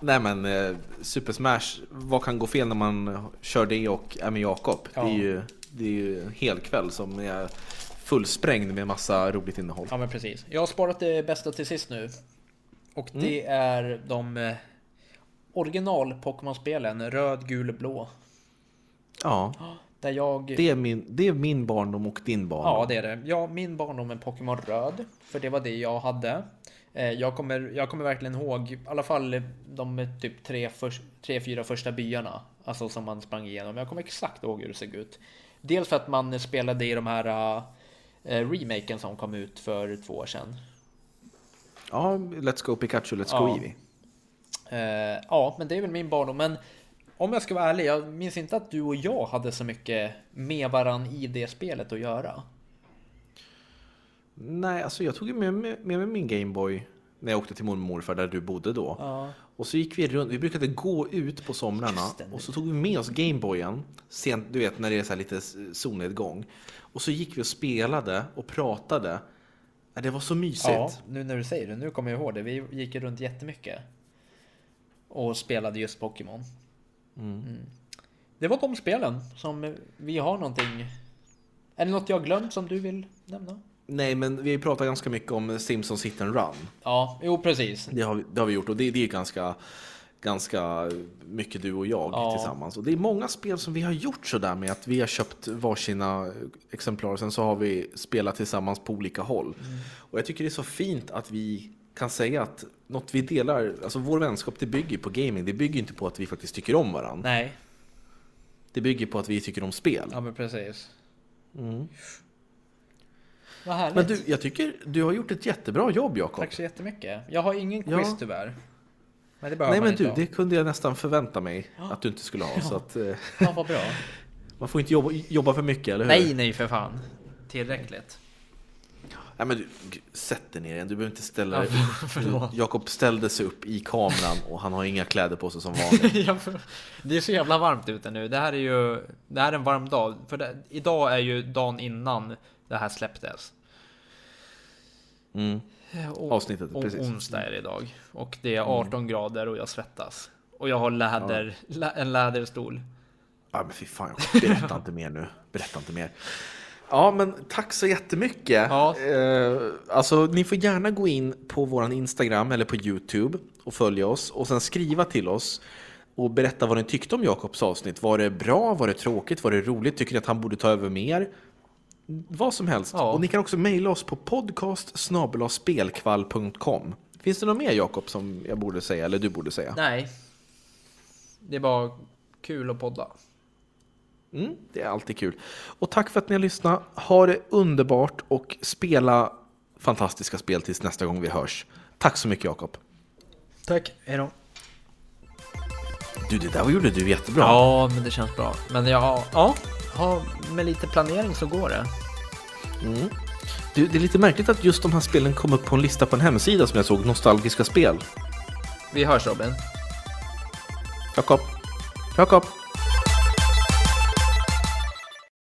Speaker 1: Nej men eh, Super Smash, vad kan gå fel när man kör det och är med Jakob?
Speaker 2: Ja.
Speaker 1: Det, är ju, det är ju en hel kväll som är fullsprängd med massa roligt innehåll.
Speaker 2: Ja, men precis. Jag har sparat det bästa till sist nu. Och det är de eh, original Pokémon-spelen, röd, gul, blå.
Speaker 1: Ja,
Speaker 2: Där jag...
Speaker 1: det är min, det är min barndom och din barndom.
Speaker 2: Ja, det är det. Ja, min barndom är Pokémon Röd, för det var det jag hade. Eh, Jag kommer, jag kommer verkligen ihåg, i alla fall de typ tre, förs- tre, fyra första byarna, alltså som man sprang igenom. Jag kommer exakt ihåg hur det såg ut. Dels för att man spelade i de här eh, remaken som kom ut för två år sedan.
Speaker 1: ja, Let's Go Pikachu, Let's
Speaker 2: Ja.
Speaker 1: Go Eevee.
Speaker 2: Eh, ja, men det är väl min barndom. Men om jag ska vara ärlig, jag minns inte att du och jag hade så mycket med varann i det spelet att göra.
Speaker 1: Nej, alltså jag tog ju med, med, med mig min Gameboy när jag åkte till mormor och morfar där du bodde då.
Speaker 2: Ja.
Speaker 1: Och så gick vi runt, vi brukade gå ut på somrarna
Speaker 2: Just det, nu.
Speaker 1: och så tog vi med oss Gameboyen, sent, du vet när det är så här lite s- solnedgång. Och så gick vi och spelade och pratade. Ja, Det var så mysigt.
Speaker 2: Ja, nu när du säger det, nu kommer jag ihåg det. Vi gick ju runt jättemycket. Och spelade just Pokémon. Mm. Det var de spelen som vi har någonting. Är det något jag glömt som du vill nämna?
Speaker 1: Nej, men vi pratar ganska mycket om Simpsons Hit and Run.
Speaker 2: Ja, jo precis.
Speaker 1: Det har, vi- det har vi gjort och det, det är ganska, ganska mycket du och jag
Speaker 2: Ja.
Speaker 1: tillsammans. Och det är många spel som vi har gjort sådär med att vi har köpt varsina exemplar och sen så har vi spelat tillsammans på olika håll.
Speaker 2: Mm.
Speaker 1: Och jag tycker det är så fint att vi kan säga att något vi delar, alltså vår vänskap det bygger på gaming, det bygger inte på att vi faktiskt tycker om varandra.
Speaker 2: Nej,
Speaker 1: Det bygger på att vi tycker om spel.
Speaker 2: ja men precis. Vad härligt.
Speaker 1: Mm. Men du, jag tycker du har gjort ett jättebra jobb Jakob.
Speaker 2: Tack så jättemycket. Jag har ingen
Speaker 1: Ja.
Speaker 2: quiz tyvärr. Men det behöver
Speaker 1: Nej
Speaker 2: man
Speaker 1: men
Speaker 2: inte
Speaker 1: du,
Speaker 2: ha.
Speaker 1: det kunde jag nästan förvänta mig att du inte skulle ha. Så att, eh,
Speaker 2: Ja, vad bra.
Speaker 1: man får inte jobba, jobba för mycket, eller hur?
Speaker 2: nej, nej för fan. Tillräckligt.
Speaker 1: Nej men du, g- sätt dig ner igen, du behöver inte ställa
Speaker 2: Ja,
Speaker 1: dig
Speaker 2: förlåt.
Speaker 1: upp. Jakob ställde sig upp i kameran och han har inga kläder på sig som vanligt.
Speaker 2: Ja, för- det är så jävla varmt ute nu. Det här är ju det här är en varm dag. För det, idag är ju dagen innan det här släpptes.
Speaker 1: Mm.
Speaker 2: Och,
Speaker 1: Avsnittet,
Speaker 2: och
Speaker 1: precis. Mm.
Speaker 2: onsdag är det idag. Och det är 18 grader och jag svettas. Och jag har läder, lä, en läderstol.
Speaker 1: Ja men fy fan Jakob, berätta inte mer nu. Berätta inte mer. Ja, men tack så jättemycket.
Speaker 2: Ja.
Speaker 1: Eh, alltså, ni får gärna gå in på vår Instagram eller på YouTube och följa oss och sen skriva till oss och berätta vad ni tyckte om Jakobs avsnitt. Var det bra? Var det tråkigt? Var det roligt? Tycker ni att han borde ta över mer? Vad som helst.
Speaker 2: Ja.
Speaker 1: Och ni kan också mejla oss på podcast Finns det något mer Jakob som jag borde säga eller du borde säga?
Speaker 2: Nej. Det är bara kul att podda.
Speaker 1: Mm, det är alltid kul. Och tack för att ni har lyssnat. Ha det underbart och spela fantastiska spel tills nästa gång vi hörs. Tack så mycket Jakob.
Speaker 2: Tack, hejdå.
Speaker 1: Du, det där gjorde du jättebra.
Speaker 2: Ja, men det känns bra. Men ja, ja, ha, med lite planering så går det.
Speaker 1: Mm. Du, det är lite märkligt att just de här spelen kom upp på en lista på en hemsida som jag såg, Nostalgiska spel.
Speaker 2: Vi hörs Robin.
Speaker 1: Jakob. Jakob.